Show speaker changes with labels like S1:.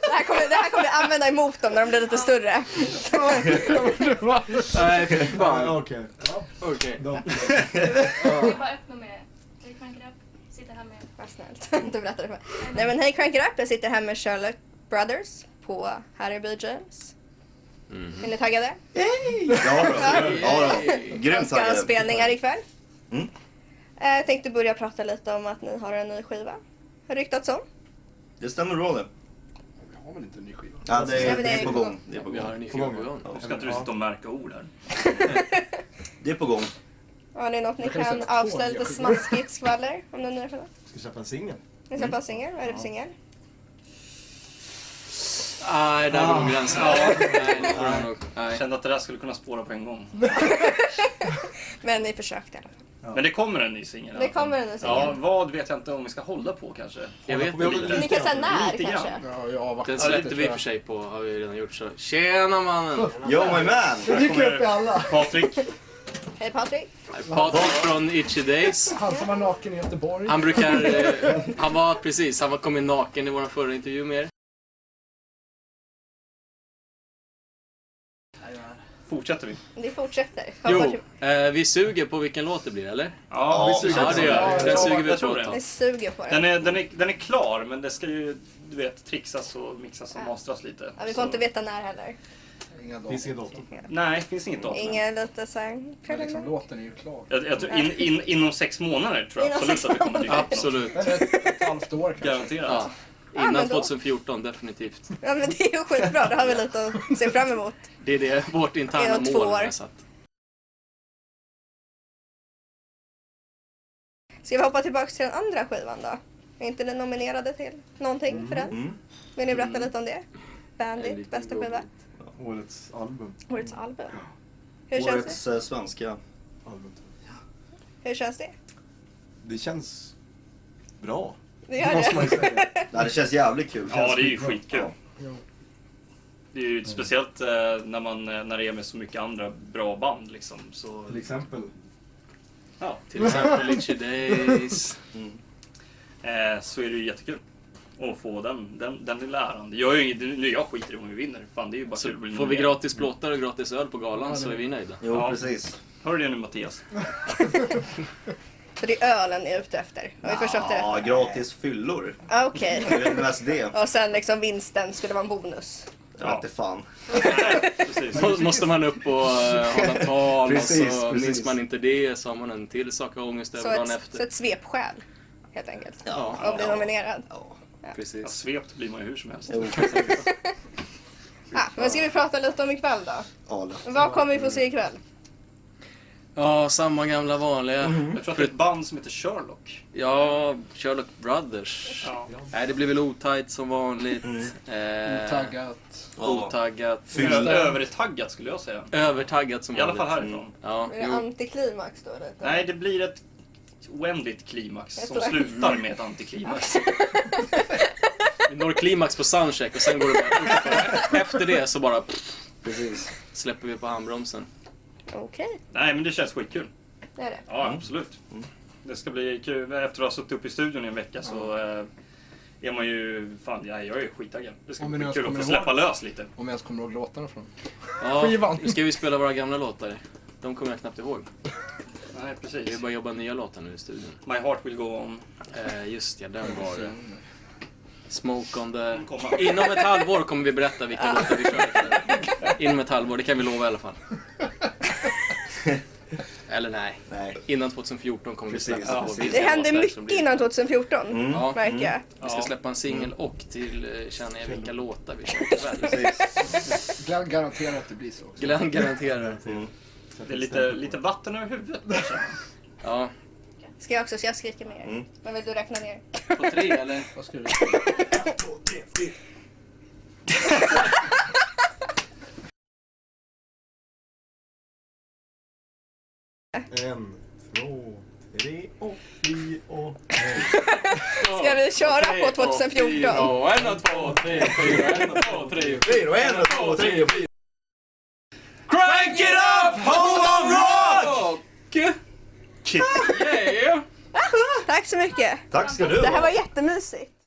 S1: Det här kommer, det här kommer jag använda emot dem när de blir lite större.
S2: Nej, fy
S3: Ja,
S2: fan.
S3: Okej.
S2: Okej.
S3: De-
S4: Jag vill bara öppna med Hej Crank It Up. Sitter här med
S1: Vad snällt. Du berättade för mig. Nej men hej Crank It Up, jag sitter här med Charlotte Brothers på Harry James. Är ni taggade?
S5: Mm. Ja, då. ja, då.
S1: De
S5: grymt
S1: ska ha
S5: taggad.
S1: spelningar ikväll.
S5: Mm.
S1: Eh, Jag tänkte börja prata lite om att ni har en ny skiva. Har ryktats om.
S5: Det stämmer bra det.
S3: Vi har väl inte en ny skiva?
S5: Ja, det,
S1: Ja,
S5: är,
S1: men
S5: det är på gång. Det är på
S2: Vi har
S5: gång.
S2: en ny
S3: På gång.
S2: fråga.
S5: Ja.
S6: Ska inte du sitta och märka ord här?
S5: Det är på gång.
S1: Har ni något ni
S3: Jag kan
S1: kan
S3: säga två
S1: avslöja lite
S3: nya
S1: smaskigt skvaller om den nya skivan?
S3: Ska vi släppa en singel?
S1: Ni släpper
S5: Mm.
S1: en singel, vad är det för
S3: Ja.
S1: singel?
S2: Nej, där
S1: Ah.
S2: går gränsen. Nej, det får de nog-
S6: Jag
S2: nej.
S6: kände att det där skulle kunna spåra på en gång.
S1: Men ni försökte i alla fall.
S6: Men det kommer en ny singel. i alla
S1: Det
S6: fall.
S1: kommer en ny singel.
S6: Ja, vad vet jag inte om vi ska hålla på kanske.
S2: Jag vet
S3: Vi har väl
S2: inte.
S1: Ni kan säga när
S6: Lite
S1: kanske?
S6: grann.
S3: Ja, jag avvaktar
S2: Den
S3: lite,
S2: släppte vi i
S3: tror
S2: och för
S3: jag.
S2: sig på, har vi redan gjort så. Tjena mannen!
S5: Yo my man!
S3: Det dyker upp i alla.
S6: Patrik,
S1: Hej Patrik!
S2: Patrik från Itchy Days.
S7: Han som var naken i Göteborg.
S2: Han brukar, eh, han var precis, han var kom in naken i vår förra intervju med er.
S6: fortsätter vi?
S1: Ni fortsätter.
S2: Jo,
S1: Hoppas-
S2: eh, vi suger på vilken låt det blir eller?
S6: Ja, vi suger
S2: Ja
S6: på
S2: det gör
S6: den.
S2: vi, den suger vi
S6: Jag
S2: på
S6: tror
S2: ett
S6: det.
S2: tag.
S1: Ni suger på
S6: Den
S1: det.
S6: är, den, är, den är klar, men det ska ju, du vet, trixas och mixas och mastras lite.
S1: Ja, vi får
S6: Så-
S1: inte veta när heller.
S3: Inga Finns inget datum.
S6: Nej, det finns inget datum.
S1: Ingen lite såhär...
S3: Men liksom, låten är ju klar.
S6: Jag, jag tror, in, in, inom sex månader tror jag
S1: Inom
S6: absolut
S1: sex
S6: att det kommer dyka upp något.
S2: Absolut.
S3: Eller ett, ett halvt år kanske.
S6: Garanterat.
S2: Ja.
S1: Ja, men
S2: Innan
S1: då.
S2: 2014 definitivt.
S1: Ja men det är ju skitbra, då har vi lite att se fram emot.
S2: Det är det, vårt interna
S1: Inom två
S2: mål.
S1: år.
S2: är satt.
S1: Ska vi hoppa tillbaka till den andra skivan då? Är inte ni nominerade till någonting för den?
S5: Mm.
S1: Vill ni berätta lite om det?
S2: En
S1: Bandit,
S2: liten
S1: bästa
S2: god-
S1: skiva,
S3: Årets album.
S1: årets album. Hur känns
S5: Årets eh, svenska.
S3: album.
S1: det? Hur känns det?
S3: Det känns bra.
S1: Det gör
S3: Måste man ju
S1: det.
S3: säga.
S5: Nej, det känns jävligt kul.
S6: Ja, det är ju
S3: skitbra.
S6: skitkul.
S7: Ja.
S6: Det är
S3: Mm.
S6: ju speciellt eh, när, man, eh, när det är med så mycket andra bra band liksom. Så,
S3: Till exempel.
S6: ja,
S2: Till exempel Itchy Days.
S5: Mm.
S6: eh, så är det ju jättekul. Att få den, den, den lilla äran. Det gör ju inget, nu jag skiter i om vi vinner. Fan, det är ju bara
S2: Så
S6: kul. att bli
S2: får vi
S6: nominerad.
S2: gratis plåtar och gratis öl på galan så är vi nöjda.
S5: Jo,
S6: Ja.
S5: precis.
S6: Hör du det nu Mattias?
S1: Så det är ölen ni är ute efter? Har vi förstått det
S5: Ja,
S1: rätt?
S5: gratis fyllor.
S1: Ah, Okej.
S5: Det är mest det.
S1: Och sen liksom vinsten skulle vara en bonus.
S5: Jag vet inte fan.
S6: Precis.
S2: Då måste man upp och eh, hålla tal och
S5: Precis,
S2: så
S5: precis.
S2: minns man inte det så har man en till sak av ångest
S1: Så
S2: över dagen
S1: ett, så
S2: efter.
S1: ett svepskäl, helt enkelt.
S5: Ja.
S1: Att bli nominerad.
S6: Ja,
S2: Precis.
S6: svept blir man ju hur som helst.
S5: Jo, precis.
S1: Ah, men ska vi prata lite om ikväll då?
S5: Ja, det-
S1: Vad kommer vi få se ikväll?
S2: Ja, samma gamla vanliga.
S6: Mm. Jag tror att det är ett band som heter Sherlock.
S2: Ja, Sherlock Brothers.
S6: Ja. Mm.
S2: Nej, det blir väl otajt som vanligt. Eh,
S3: Otaggat.
S5: Ja.
S2: Otaggat.
S6: Ö- Övertaggat skulle jag säga.
S2: Övertaggat som
S6: I alla fall
S2: vanligt. Mm.
S6: härifrån.
S2: Ja,
S1: Är det
S2: jo.
S1: antiklimax då lite?
S6: Nej, det blir ett oändligt klimax
S1: Jag
S6: som
S1: tror-
S6: slutar med ett antiklimax.
S2: Vi når klimax på soundcheck och sen går det bara Efter det så bara pff,
S5: Precis.
S2: släpper vi på handbromsen.
S1: Okej,
S6: Nej, men det känns skitkul.
S1: det är det.
S6: Ja, absolut. Det ska bli kul. Efter att ha suttit uppe i studion i en vecka så eh, är man ju... Fan, jag, jag är skittaggad. Det ska
S3: Om vi
S6: bli
S3: nu
S6: kul att
S3: kommer
S6: få
S3: ihåg.
S6: släppa lös lite.
S3: Om jag ens kommer ihåg låtarna från
S2: Ja,
S3: Skivan.
S2: nu ska vi spela våra gamla låtar. De kommer jag knappt ihåg.
S6: Nej,
S2: Vi
S6: precis.
S2: bara jobba nya låtar nu i studion.
S6: My heart will go on.
S2: Eh, just ja, den var det. Smoke on the...
S6: Komma.
S2: Inom ett halvår kommer vi berätta
S1: Ah.
S2: vilka låtar vi kör. Inom ett halvår, det kan vi lova i alla fall. Eller nej,
S5: Nej.
S2: innan 2014 kommer
S5: Precis.
S2: vi släppa
S5: Ja,
S2: vilka
S1: Det hände
S2: låtar som
S1: mycket
S2: blir- Mm.
S1: innan 2014,
S2: Ja,
S1: märker jag.
S2: vi ska
S6: Ja.
S2: släppa en singel och till eh, känner jag vilka låtar vi kör ikväll.
S5: Precis.
S3: Glenn garanterar att det blir så. också.
S2: Glenn garanterar.
S5: Mm.
S6: Det är lite, lite vatten över huvudet kanske.
S2: Ja,
S1: Ska jag också, ska jag skrika med er?
S5: Mm.
S1: Men vill du räkna ner?
S2: på tre eller?
S3: Vad ska du
S7: En, två, tre och vi och...
S1: Ska vi köra på 2014?
S2: Ja, en, två, tre, fyra, en, två, tre, fyra.
S5: Fyra och en och två och tre och fyra.
S2: Crank it up, hold on rock! Yeah!
S1: Tack så mycket!
S5: Tack ska du
S1: Det här
S5: ha.
S1: var jättemysigt.